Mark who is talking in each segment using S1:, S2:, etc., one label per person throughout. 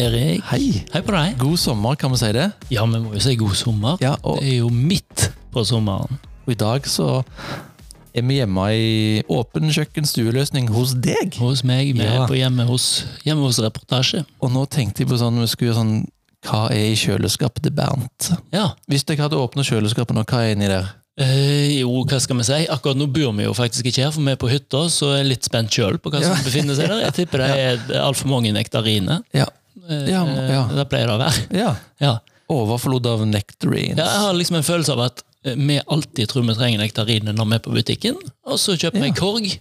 S1: Erik.
S2: Hei.
S1: Hei på deg.
S2: God sommer, kan vi si det?
S1: Ja, vi må jo si god sommer.
S2: Ja, og,
S1: Det er jo midt på sommeren.
S2: og i dag så er vi hjemme i åpen kjøkken-stueløsning hos deg.
S1: Hos meg, vi
S2: Ja.
S1: er på hjemme hos, hjemme hos reportasje.
S2: Og nå tenkte jeg på sånn, vi skulle gjøre sånn Hva er i kjøleskapet til Bernt?
S1: Ja.
S2: Hvis dere hadde åpnet kjøleskapet nå, hva er inni der?
S1: Eh, jo, hva skal vi si? Akkurat nå bor vi jo faktisk ikke her, for vi er på hytta, så jeg er litt spent sjøl på hva som
S2: Ja.
S1: befinner seg der. Jeg tipper det er altfor mange nektariner.
S2: Ja.
S1: Eh,
S2: Ja, ja.
S1: Det pleier det å være.
S2: ja.
S1: Ja.
S2: Overflod av
S1: Ja, jeg
S2: nectarines.
S1: har liksom en følelse av at eh, vi alltid tror vi trenger nektariner når vi er på butikken, og så kjøper vi en korg,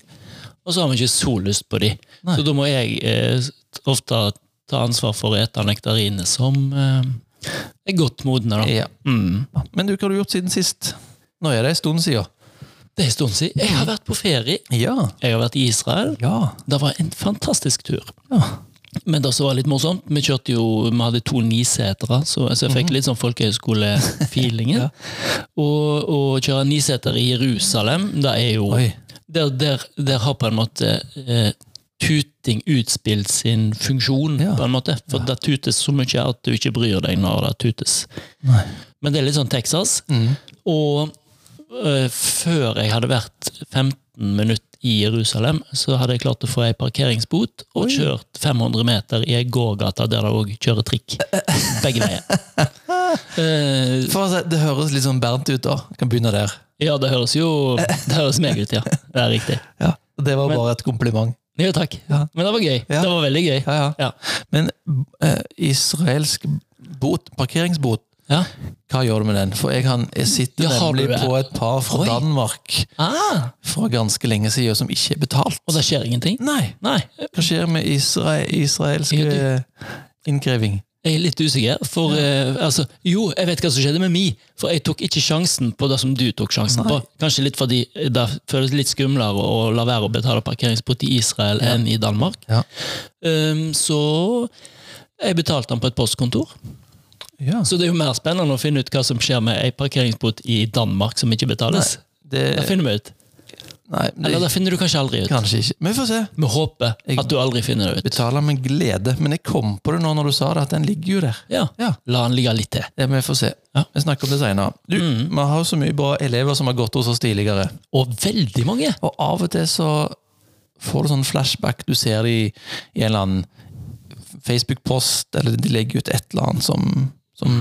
S1: og så har vi ikke så lyst på de.
S2: Nei.
S1: Så da må jeg eh, ofte ta ansvar for å ete nektariner som eh, er godt modne. Da.
S2: Ja.
S1: Mm.
S2: Men du, hva har du gjort siden sist? Nå er det en stund siden.
S1: Det er en stund siden. Jeg har vært på ferie.
S2: Ja.
S1: Jeg har vært i Israel.
S2: Ja.
S1: Det var en fantastisk tur.
S2: Ja.
S1: Men det som var litt morsomt, vi kjørte jo, vi hadde to nisetere, så, så jeg
S2: Mhm.
S1: fikk litt sånn folkehøyskole-feelingen. Og å kjøre niseter i Jerusalem, det er jo
S2: Oi.
S1: der, der, der har på en måte eh, tuting utspilt sin funksjon,
S2: Ja.
S1: på en måte. For det tutes så mye at du ikke bryr deg når det tutes.
S2: Nei.
S1: Men det er litt sånn Texas.
S2: Mm.
S1: Og eh, før jeg hadde vært 15 minutter i Jerusalem, så hadde jeg klart å få ei parkeringsbot og kjørt 500 meter i ei gågate der det òg kjører trikk. Begge veier. Eh,
S2: For å si, det høres litt sånn Bernt ut, da. Kan begynne der.
S1: ja, det høres jo Det høres meg ut, ja. Det er riktig.
S2: Ja. Det var
S1: Men-
S2: bare et kompliment.
S1: Jo, takk.
S2: Ja.
S1: Men det var gøy.
S2: Ja.
S1: Det var veldig gøy.
S2: Ja, ja.
S1: Ja.
S2: Men eh, israelsk bot, parkeringsbot,
S1: Ja.
S2: hva gjør du med den? For jeg, han, jeg sitter
S1: Ja, har du
S2: nemlig
S1: det?
S2: på et par fra
S1: Oi.
S2: Danmark
S1: Ah,
S2: fra ganske lenge siden som ikke er betalt.
S1: og det skjer ingenting?
S2: Nei,
S1: Nei.
S2: hva skjer med isra israelsk
S1: Ja, du-
S2: eh, innkreving?
S1: Jeg er litt usikker. For, eh, altså, jo, jeg vet hva som skjedde med mi, for jeg tok ikke sjansen på det som du tok sjansen på. Kanskje litt fordi det føles litt skumlere å la være å betale parkeringsbot i Israel enn i Danmark.
S2: Ja.
S1: Um, så jeg betalte den på et postkontor.
S2: Ja.
S1: Så det er jo mer spennende å finne ut hva som skjer med ei parkeringsbot i Danmark som ikke betales.
S2: Det,
S1: Det finner vi ut.
S2: nei, det,
S1: Eller det finner du kanskje aldri ut.
S2: kanskje ikke. Men vi får se.
S1: Vi håper
S2: Jeg-
S1: at du aldri finner det ut.
S2: Betaler med glede. Men jeg kom på det nå når du sa det, at den ligger jo der.
S1: Ja.
S2: Ja.
S1: La han ligge litt til.
S2: Ja, men Vi får se.
S1: Ja. Mm.
S2: Vi snakker om det seinere. Vi har jo så mye bra elever som har gått hos oss tidligere.
S1: Og veldig mange!
S2: Og av og til så får du sånn flashback. Du ser de i en eller annen Facebook-post, eller de legger ut et eller annet som, som,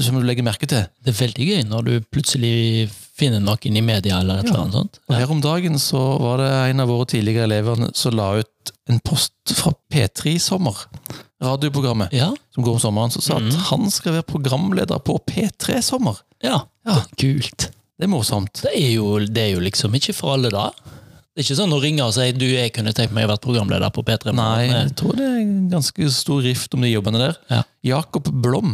S2: som du legger merke til.
S1: Det er veldig gøy når du plutselig finner noen i media eller et eller annet sånt.
S2: Og her om dagen så var det en av våre tidligere elever som la ut en post fra P3 Sommer, radioprogrammet
S1: Ja,
S2: som går om sommeren, som sa at han skal være programleder på P3 Sommer.
S1: ja.
S2: Ja.
S1: Kult.
S2: Det er morsomt.
S1: Det er, jo, det er jo liksom ikke for alle, da. Det er ikke sånn å ringe og si du, jeg kunne tenkt meg å være programleder på P3.
S2: Nei, jeg tror det er en ganske stor rift om de jobbene der.
S1: Ja.
S2: Jakob Blom.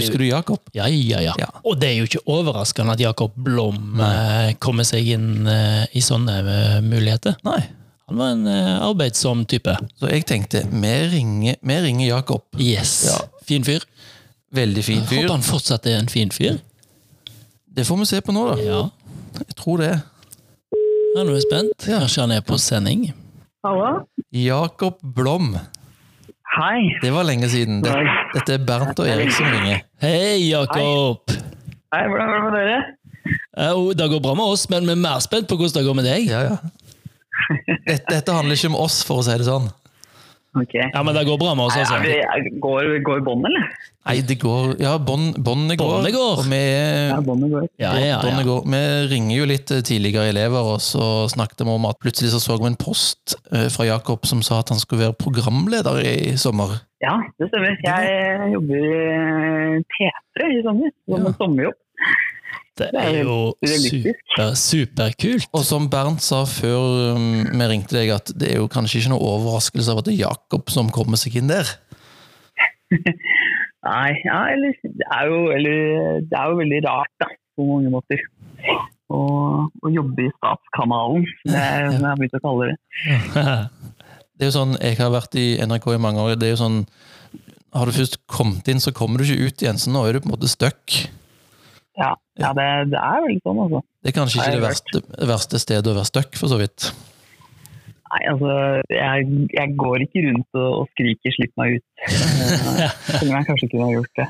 S2: Husker du Jakob?
S1: Ja, ja, ja,
S2: Ja.
S1: Og det er jo ikke overraskende at Jakob Blom eh, kommer seg inn eh, i sånne eh, muligheter.
S2: Nei.
S1: Han var en eh, arbeidsom type.
S2: Så jeg tenkte, vi ringer, vi ringer Jakob.
S1: Yes.
S2: Ja.
S1: Fin fyr.
S2: Veldig fin fyr.
S1: Håper han fortsatt er en fin fyr.
S2: Det får vi se på nå, da.
S1: Ja.
S2: Jeg tror det.
S1: Ja, nå er jeg spent. Kanskje han er på sending.
S3: Hallo?
S2: Jakob Blom.
S3: Hei.
S2: Det var lenge siden. Det-
S3: Nei.
S2: Dette er Bernt og Erik som ringer.
S1: Hei, Jakob!
S3: Hei, hvordan går det med dere?
S1: Eh, jo, Det går bra med oss, men vi er mer spent på hvordan det går med deg. Ja,
S2: Ja, ja. Dette, dette handler ikke om oss, for å si det sånn.
S3: Ok. Sånn
S1: men det går bra med oss,
S3: Er
S1: altså.
S3: vi, går, går bånd, eller?
S2: Nei, det går Ja, bånd- båndene går.
S1: Båndene går.
S2: Og vi er
S3: Ja, båndet går.
S1: Ja, ja,
S2: Båndene
S1: ja.
S2: går. Vi ringer jo litt tidligere elever, og så snakket vi om at plutselig så, så vi en post eh, fra Jakob som sa at han skulle være programleder i sommer.
S3: Ja, det stemmer. Jeg jobber i eh, P3 i sommer. Som en sommerjobb.
S1: Det er jo super, superkult.
S2: Og som Bernt sa før um, vi ringte deg, at det er jo kanskje ikke noe overraskelse av at det er Jakob som kommer seg inn der.
S3: Nei, ja, eller det er jo, eller, det er jo veldig rart, da. På mange måter. Å å jobbe i Statskanalen, som jeg, som jeg har begynt å kalle det.
S2: Det er jo sånn, Jeg har vært i NRK i mange år. det er jo sånn, Har du først kommet inn, så kommer du ikke ut igjen. Så nå er du på en måte stuck.
S3: Ja, ja det, det er veldig sånn, altså.
S2: Det er kanskje
S3: Nei,
S2: ikke det
S3: jeg
S2: verste, verste stedet å være stuck, for så vidt.
S3: Nei, altså, jeg, jeg går ikke rundt og, og skriker 'slipp meg ut'. Eh, Selv om jeg kanskje kunne ha gjort det.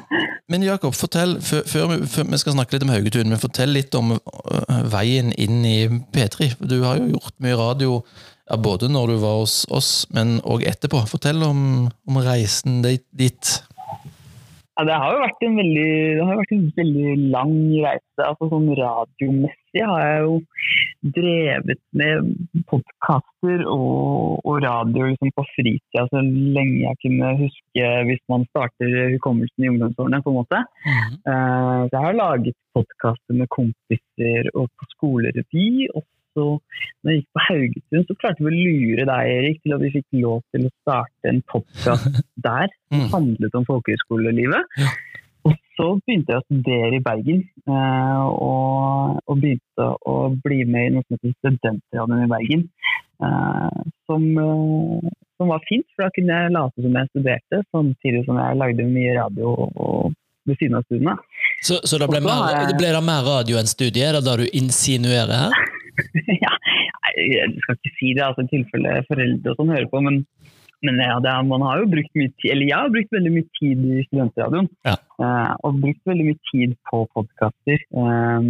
S2: Men Jakob, fortell, før, før, vi, før vi skal snakke litt om Haugetun, men fortell litt om øh, veien inn i P3. For Du har jo gjort mye radio, ja, både når du var hos oss, men òg etterpå. Fortell om, om reisen dit. dit.
S3: Ja, det har jo vært en veldig, det har jo vært en veldig lang reise. Altså, sånn radiomessig har jeg jo drevet med podkaster og, og radio liksom, på fritida så lenge jeg kunne huske hvis man starter hukommelsen i ungdomsårene. på en måte. Eh, Så jeg har laget podkaster med kompiser og på skolerevy. Og så når jeg gikk på Haugesund, så klarte vi å lure deg, Erik, til at vi fikk lov til å starte en podkast der som
S2: Mm.
S3: handlet om folkehøyskolelivet. Og så begynte jeg å studere i Bergen, eh, og, og begynte å bli med i noe som heter Studentradioen i Bergen. eh, Som, eh, som var fint, for da kunne jeg late som jeg studerte, samtidig som jeg lagde mye radio og ved siden av studiene.
S1: Så, så det ble,
S3: Og så har
S1: mer,
S3: jeg-
S1: det ble da mer radio enn studie? Er det det du insinuerer her?
S3: ja, nei, jeg skal ikke si det, altså i tilfelle foreldre og sånn hører på, men, men ja, det er, man har jo brukt mye tid, eller jeg har brukt veldig mye tid i studentradioen,
S1: Ja.
S3: eh, og brukt veldig mye tid på podcaster, eh,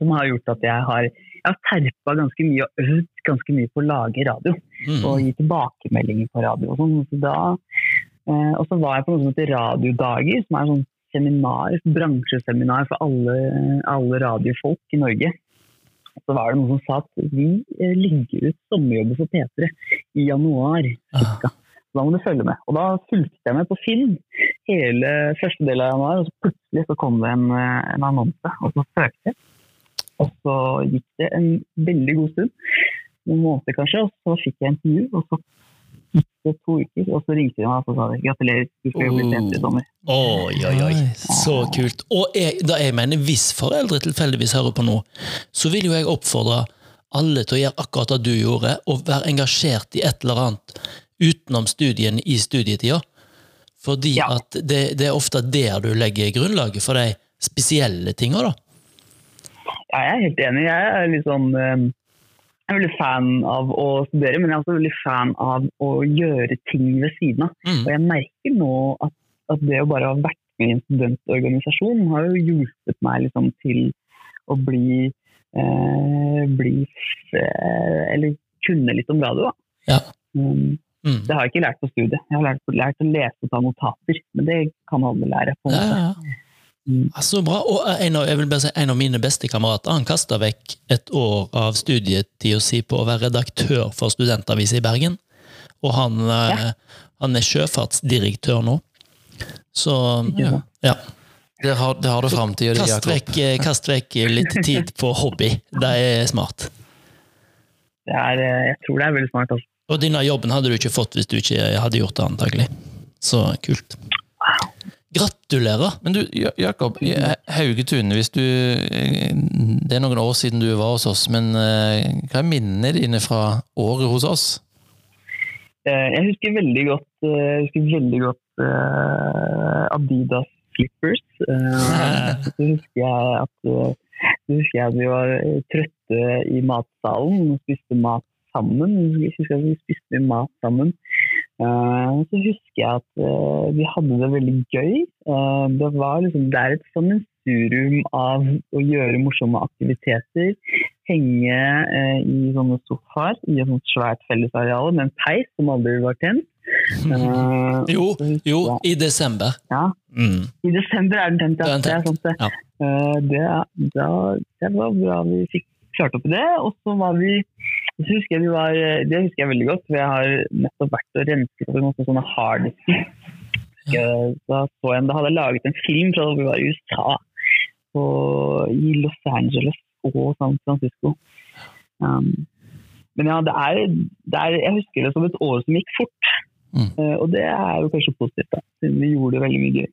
S3: som har gjort at jeg har, jeg har terpet ganske mye og øvd ganske mye på å lage radio
S1: Mm.
S3: og gi tilbakemeldinger på radio. Og sånn. så da, eh, og så var jeg på noe som heter Radiodager, som er sånn seminar, bransjeseminar for alle, alle radiofolk i Norge. Så var det noen som sa at vi eh, legger ut sommerjobber for P3 i januar.
S1: Ah.
S3: Så da må du følge med. Og da fulgte jeg med på Finn hele første del av januar, og så plutselig så kom det en, eh, en annonse, og så søkte jeg. Og så gikk det en veldig god stund, noen måneder kanskje, og så fikk jeg intervju, og så gikk det to uker, og så ringte de meg og så sa de, gratulerer, du skal jo bli sendt i sommer.
S1: Oi, oi, oi.
S2: Nice.
S1: Så kult. Og jeg, da jeg mener, hvis foreldre tilfeldigvis hører på nå, så vil jo jeg oppfordre alle til å gjøre akkurat det du gjorde, og være engasjert i et eller annet utenom studien i studietida. Fordi
S3: Ja.
S1: at det, det er ofte der du legger grunnlaget for de spesielle tinga, da.
S3: Ja, jeg er helt enig. Jeg er litt sånn eh, jeg er veldig fan av å studere, men jeg er også veldig fan av å gjøre ting ved siden av.
S1: Mm.
S3: Og jeg merker nå at, at det å bare ha vært med i en studentorganisasjon har jo hjulpet meg liksom til å bli, eh, bli f- eh, Eller kunne litt om radio, da.
S1: Ja.
S3: Um,
S1: Mm.
S3: det har jeg ikke lært på studiet. Jeg har lært, lært å lese og ta notater, men det kan alle lære. på en
S1: Ja,
S3: måte.
S1: ja,
S3: Mm.
S1: ja. Så bra. Og eh, en av, jeg vil bare si, en av mine beste kamerater han kasta vekk et år av studietida si på å være redaktør for Studentavisa i Bergen. Og han, eh, han er sjøfartsdirektør nå. Så
S2: Ja.
S1: ja.
S2: Der har, der har du framtida di,
S1: Kast
S2: Jakob.
S1: vekk, eh, kast vekk litt tid på hobby. Det er smart.
S3: Det er, eh, jeg tror det er veldig smart. Altså.
S1: Og denne jobben hadde du ikke fått hvis du ikke hadde gjort det, antagelig. Så kult. Gratulerer!
S2: Men du, Ja- Jakob, i eh, Haugetun, hvis du eh, Det er noen år siden du var hos oss, men eh, hva er minnene dine fra året hos oss?
S3: Eh, Jeg husker veldig godt, eh, jeg husker veldig godt eh, Adidas slippers. Eh, Så husker jeg at eh, så husker jeg at vi var eh, trøtte i matsalen og spiste mat sammen. Jeg husker at vi spiste mat sammen. Eh, og Så husker jeg at eh, vi hadde det veldig gøy. Eh, Det, var liksom, det er et sammensurium av å gjøre morsomme aktiviteter henge eh, i sånne sofaer i et sånt svært fellesareal med en peis som aldri var tent.
S1: Mm.
S3: Eh,
S1: Jo, jo, i desember.
S3: ja.
S1: Mm.
S3: I desember er den tent, ja.
S1: Den
S3: Det,
S1: er
S3: er sant, det.
S1: ja.
S3: Eh, det, da, det var bra vi fikk klart opp i det. Og så var vi så husker jeg vi var, Det husker jeg veldig godt, for jeg har nettopp vært og rensket opp i masse sånne harddisker. Eh, Da, så jeg, da hadde jeg laget en film fra da vi var i USA, og i Los Angeles og San Francisco. Um, men ja, det er, det er, jeg husker det som et år som gikk fort.
S2: Mm.
S3: Eh, og det er jo kanskje positivt, da, siden vi gjorde det veldig mye gøy.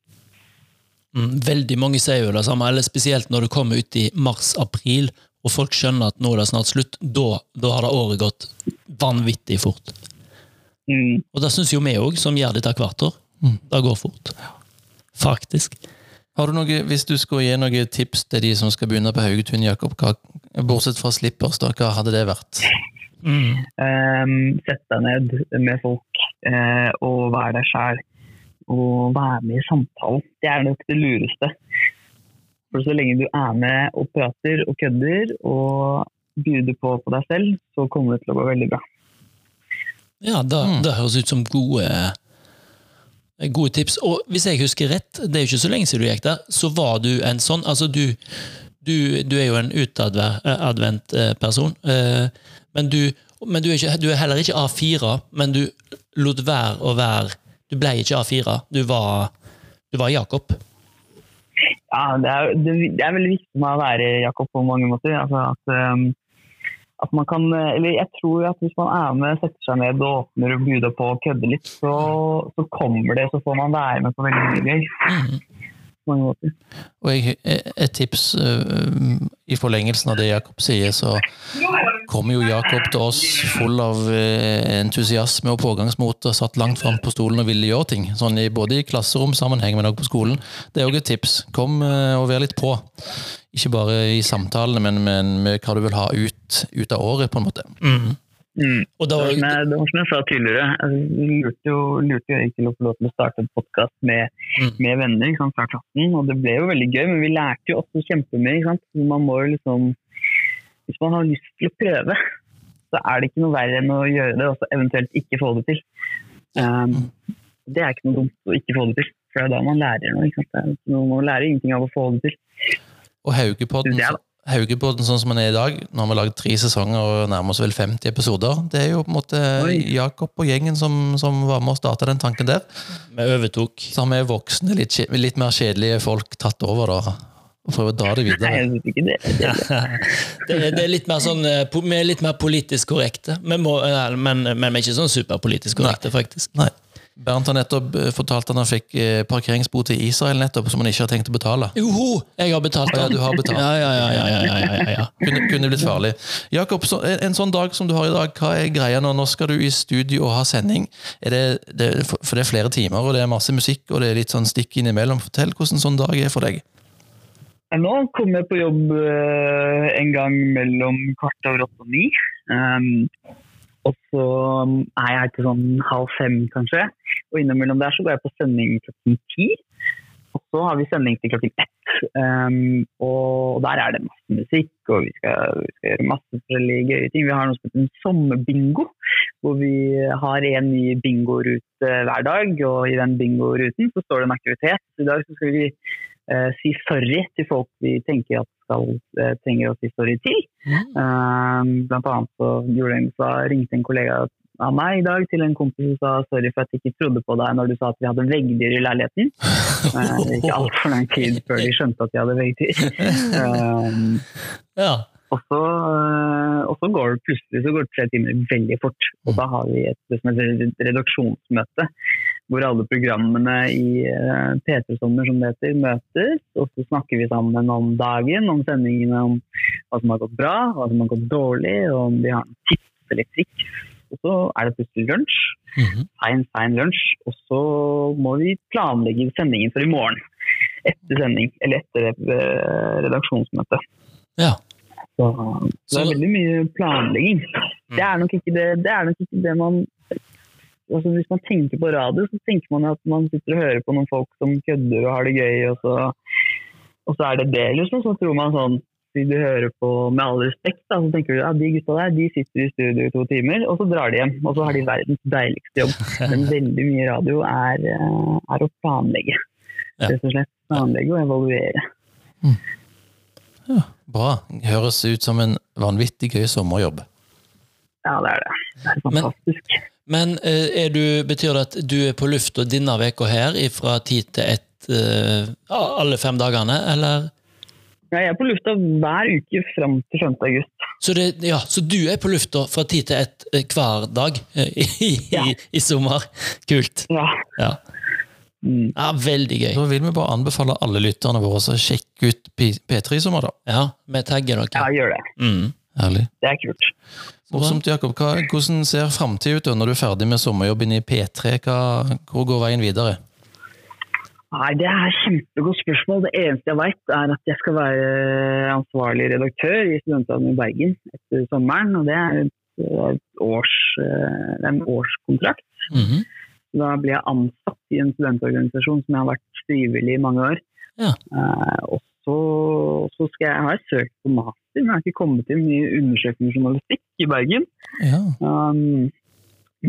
S1: Mm, Veldig mange sier jo det samme, eller spesielt når du kommer ut i mars-april, og folk skjønner at nå er det snart slutt, da, da har det året gått vanvittig fort.
S3: Mm.
S1: Og det syns jo vi òg, som gjør dette hvert år.
S2: Mm.
S1: Det går fort. Faktisk.
S2: Har du noe, Hvis du skulle gi noen tips til de som skal begynne på Haugetun, Jakob, hva, bortsett fra slippers, da, hva hadde det vært?
S1: Mm.
S3: Um, Sett deg ned med folk eh, og være deg sjæl. Og være med i samtalen. Det er nok det lureste. For så lenge du er med og prater og kødder og byr på på deg selv, så kommer det til å gå veldig bra.
S1: Ja, det,
S2: Mm.
S1: det høres ut som gode, eh, gode tips. Og hvis jeg husker rett, det er jo ikke så lenge siden du gikk der, så var du en sånn Altså, du, du, du er jo en utadvendt person, eh, men, du, men du, er ikke, du er heller ikke A4, men du lot være å være Du ble ikke A4, du var, du var Jakob.
S3: Ja, det er, det, det er veldig viktig for meg å være Jakob på mange måter. Altså at, ehm, at man kan, eller jeg tror at hvis man er med, setter seg ned og åpner og buder på og kødder litt, så, så kommer det, så får man være med på veldig mye gøy. På mange måter.
S2: Og jeg, et tips eh, i forlengelsen av det Jakob sier, så kommer jo Jakob til oss full av eh, entusiasme og pågangsmot og satt langt fram på stolen og ville gjøre ting. Sånn i, både i klasseromsammenheng, men også på skolen. Det er òg et tips. Kom eh, og vær litt på. Ikke bare i samtalene, men, men med hva du vil ha ut, ut av året, på en måte.
S3: Mm.
S1: Og da
S3: Det var som
S1: var,
S3: jeg, det var som jeg sa tidligere, altså, vi lurte jo, lurte jo Erik til å få lov til å starte en podkast med,
S1: Mm.
S3: med venner ikke sant, fra klassen. Og det ble jo veldig gøy, men vi lærte jo også kjempemye. ikke sant? Så Man må jo liksom, hvis man har lyst til å prøve, så er det ikke noe verre enn å gjøre det og så eventuelt ikke få det til. Um, det er ikke noe dumt å ikke få det til, for det er da man lærer noe. ikke sant? Det er ikke noe, man lærer ingenting av å få det til.
S2: Og Haugepodden,
S1: Mm.
S3: Det er-
S2: Haugepodden sånn som den er i dag, nå har vi lagd tre sesonger og nærmer oss vel 50 episoder, det er jo på en måte
S3: Oi.
S2: Jakob og gjengen som, som var med og starta den tanken der.
S1: vi overtok.
S2: Så har vi voksne, litt, kje- litt mer kjedelige folk tatt over, da. Og prøver å dra det
S3: Nei,
S2: videre.
S3: jeg synes ikke det. det.
S1: Det, er- det er litt mer sånn eh, po- Vi er litt mer politisk korrekte, men, må, eh, men, men vi er ikke sånn superpolitisk korrekte, faktisk.
S2: Nei. Bernt har nettopp eh, fortalt at han fikk eh, parkeringsbot i Israel nettopp, som han ikke har tenkt å betale.
S1: Joho, jeg har betalt
S2: Ja,
S1: den.
S2: du har betalt.
S1: Ja, ja, ja, ja, ja, ja, ja, ja.
S2: Kunne, kunne blitt farlig. Jakob, så, en, en sånn dag som du har i dag, hva er greia nå? Nå skal du i studio og ha sending. Er det, det, for for det er flere timer, og det er masse musikk, og det er litt sånn stikk innimellom. Fortell hvordan en sånn dag er for deg.
S3: Ja, Nå kom jeg på jobb eh, en gang mellom kvart over åtte og ni. Ehm, og så er jeg her til sånn halv fem, kanskje. Og innimellom der så går jeg på sending klokken ti. Og så har vi sending til klokken ett. Ehm, og der er det masse musikk, og vi skal, vi skal gjøre masse forskjellige gøye ting. Vi har noe som heter en sommerbingo, hvor vi har en ny bingorute hver dag. Og i den bingoruten så står det en aktivitet. I dag så skal vi eh, si sorry til folk vi tenker at skal, eh, trenger å si sorry til. Eh, blant annet så gjorde jeg, så ringte en kollega av meg i dag til en kompis og sa sorry for at jeg ikke trodde på deg når du sa at vi hadde veggdyr i leiligheten. Eh, det gikk altfor lang tid før de skjønte at vi hadde veggdyr. Eh,
S1: ja.
S3: og så, øh, og så går det plutselig så går det tre timer veldig fort. Og da har vi et, det som heter et redaksjonsmøte, hvor alle programmene i øh, P3 Sommer som det heter, møtes. Og så snakker vi sammen om dagen, om sendingene, om hva som har gått bra, hva som har gått dårlig, og om vi har noen tips eller triks. Og så er det plutselig lunsj
S1: Mhm.
S3: sein, sein lunsj. Og så må vi planlegge sendingen for i morgen. Etter sending, eller etter eh, redaksjonsmøtet.
S1: Ja.
S3: Så,
S1: Så- Mm.
S3: så det er veldig mye planlegging. Det er nok ikke det, det, er nok ikke det man altså Hvis man tenker på radio, så tenker man at man sitter og hører på noen folk som kødder og har det gøy, og så, og så er det det, liksom. Så tror man sånn hvis du hører på med all respekt, da, så tenker du at ja, de gutta der de sitter i studio i to timer, og så drar de hjem. Og så har de verdens deiligste jobb. Men veldig mye radio er, eh, er å planlegge.
S1: Ja.
S3: Rett og slett. Planlegge og evaluere.
S2: Bra. Høres ut som en vanvittig gøy sommerjobb.
S3: Ja, det er det. Det er fantastisk.
S1: Men eh, er du, betyr det at du er på lufta denne uka her fra ti til ett eh, alle fem dagene, eller?
S3: Ja, jeg er på lufta hver uke fram til 5. august.
S1: Så, det, ja, så du er på lufta fra ti til ett eh, hver dag eh, i,
S3: Ja.
S1: i, i sommer? Kult.
S3: Ja.
S1: Ja.
S3: Mm.
S1: ja, veldig gøy.
S2: Da vil vi bare anbefale alle lytterne våre å sjekke ut P- P3 i sommer, da.
S1: Ja, vi tagger
S3: ja,
S1: dere.
S3: gjør det.
S1: Mm.
S2: Herlig.
S3: Det er kult.
S2: Morsomt, Jakob. Hva, hvordan ser framtida ut da, når du er ferdig med sommerjobben i P3? Hva, hvor går veien videre?
S3: Nei, Det er et kjempegodt spørsmål. Det eneste jeg vet, er at jeg skal være ansvarlig redaktør i Studentradioen i Bergen etter sommeren. og Det er eh, et års, eh, det er en årskontrakt.
S1: Mhm.
S3: Da ble jeg ansatt i en studentorganisasjon som jeg har vært frivillig i mange år.
S1: Ja.
S3: Eh, og så, så skal jeg, jeg har søkt på master, men jeg har ikke kommet inn i undersøkende journalistikk i Bergen.
S2: Ja.
S3: Um,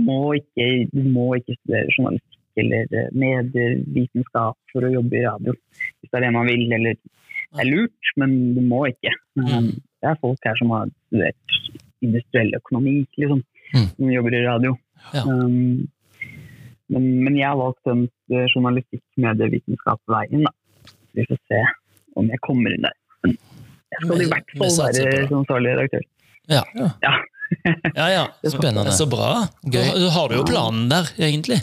S3: må ikke, du må ikke studere journalistikk eller eh, medievitenskap for å jobbe i radio, hvis det er det man vil. Eller det er lurt, men du må ikke. Um,
S1: Mm.
S3: det er folk her som har studert industriell økonomi, liksom,
S2: Mm.
S3: som jobber i radio.
S1: Ja.
S3: Um, men, men jeg har valgt den eh, journalistikk, medievitenskap veien, da. Så vi får se om jeg kommer inn der. Men jeg skal
S1: Vi-
S3: i hvert
S1: vi
S3: fall
S1: satser
S3: være
S1: på det.
S3: som ansvarlig redaktør.
S1: Ja, ja.
S2: Spennende.
S1: Så bra. Da
S2: Gøy.
S1: har- da har du jo planen der, egentlig.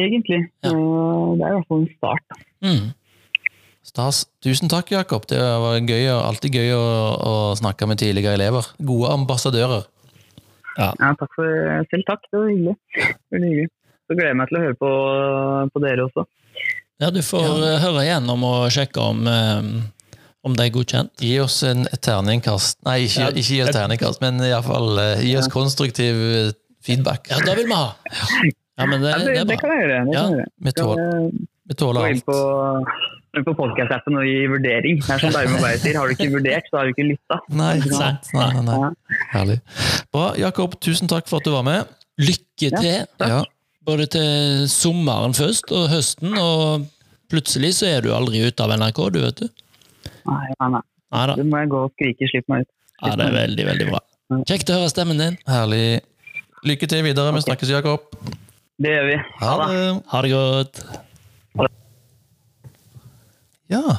S3: Egentlig.
S1: Ja.
S3: Eh, Det er i hvert fall en start.
S1: Mm.
S2: Stas. Tusen takk, Jakob. Det var gøy, og alltid gøy å, å snakke med tidligere elever. Gode ambassadører.
S3: Ja, takk for, selv takk. Det var hyggelig. Det var hyggelig. Så gleder jeg meg til å høre på, på dere også.
S1: Eh, Ja, du får
S2: Ja.
S1: eh, høre igjennom og sjekke om, eh, om det er godkjent.
S2: Gi oss en, et terningkast. Nei, ikke,
S1: Ja,
S2: ikke gi oss
S1: et-
S2: terningkast, men iallfall eh, gi oss konstruktiv eh, feedback.
S1: Ja, da vil vi ha! Ja, men det,
S3: Ja, det,
S1: det er
S3: det
S1: bra.
S3: kan jeg gjøre. Det
S1: Ja.
S3: kan jeg gjøre.
S2: Vi
S3: Skal,
S2: tåler,
S3: eh,
S2: vi
S3: Gå
S2: tåler
S3: inn på,
S2: alt.
S3: gå inn på podcast-appen og gi vurdering. Det er som Darme Beyer sier, har du ikke vurdert, så har du ikke lytta.
S2: Nei,
S3: Nei.
S2: sant. Nei, nei, nei.
S3: Ja.
S2: Herlig. Bra. Jakob, tusen takk for at du var med.
S1: Lykke
S3: Ja.
S1: til,
S2: Ja,
S1: både til sommeren først og høsten, og plutselig så er du aldri ute av NRK, du vet du.
S3: Nei, nei, nei.
S1: Nei da.
S3: Du må jeg gå og skrike 'slipp meg ut'.
S1: Ja, det er veldig, veldig bra. Kjekt å høre stemmen din.
S2: herlig. Lykke til videre. Vi
S3: Ok.
S2: snakkes, Jakob.
S3: Det gjør vi.
S2: Ha det.
S1: Ha det godt.
S2: Ja,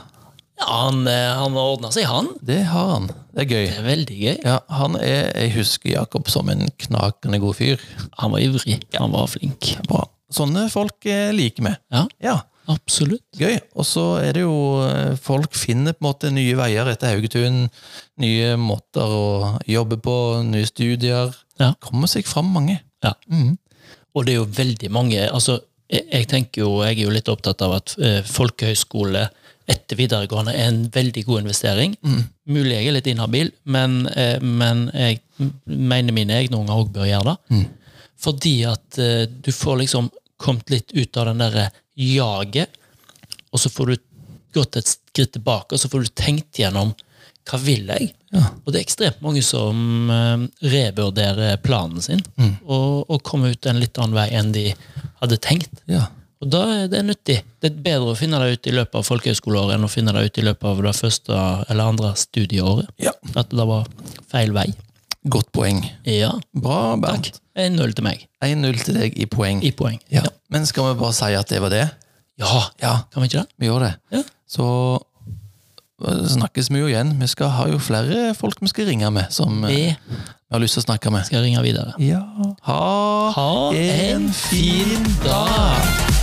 S1: Ja, han, eh, han har ordna seg, han.
S2: det har han. Det er gøy.
S1: Det er veldig gøy.
S2: Ja, han er, Jeg husker Jakob som en knakende god fyr.
S1: Han var ivrig. Han var flink.
S2: Bra. Sånne folk eh, liker vi.
S1: Ja.
S2: Ja,
S1: Absolutt.
S2: Gøy. Og så er det jo eh, Folk finner på en måte nye veier etter Haugetun. Nye måter å jobbe på, nye studier.
S1: Ja.
S2: Kommer seg fram mange.
S1: Ja.
S2: Mhm.
S1: Og det er jo veldig mange altså, jeg, jeg tenker jo, jeg er jo litt opptatt av at eh, folkehøyskole etter videregående er en veldig god investering.
S2: Mm.
S1: Mulig jeg er litt inhabil, men, eh, men jeg m- mener mine egne unger òg bør gjøre det.
S2: Mm.
S1: Fordi at eh, du får liksom kommet litt ut av den derre jaget, og så får du gått et skritt tilbake, og så får du tenkt gjennom hva vil jeg?
S2: Ja.
S1: Og det er ekstremt mange som eh, revurderer planen sin
S2: Mm.
S1: og, og kommer ut en litt annen vei enn de hadde tenkt.
S2: Ja.
S1: Og da er det nyttig. Det er bedre å finne det ut i løpet av folkehøyskoleåret enn å finne det ut i løpet av det første eller andre studieåret.
S2: Ja.
S1: At det var feil vei.
S2: Godt poeng.
S1: Ja,
S2: Bra,
S1: takk.
S2: Bernt.
S1: 1-0 til meg
S2: 1-0 til deg i poeng.
S1: i poeng.
S2: Ja. Men skal vi bare si at det var det?
S1: Ja,
S2: Ja,
S1: kan vi ikke det?
S2: vi gjør det.
S1: Ja.
S2: Så eh, snakkes vi jo igjen. Vi skal ha jo flere folk vi skal ringe med, som eh,
S1: Vi
S2: vi har lyst til å snakke med.
S1: skal ringe videre.
S2: Ja. Ha,
S1: Ha en fin dag!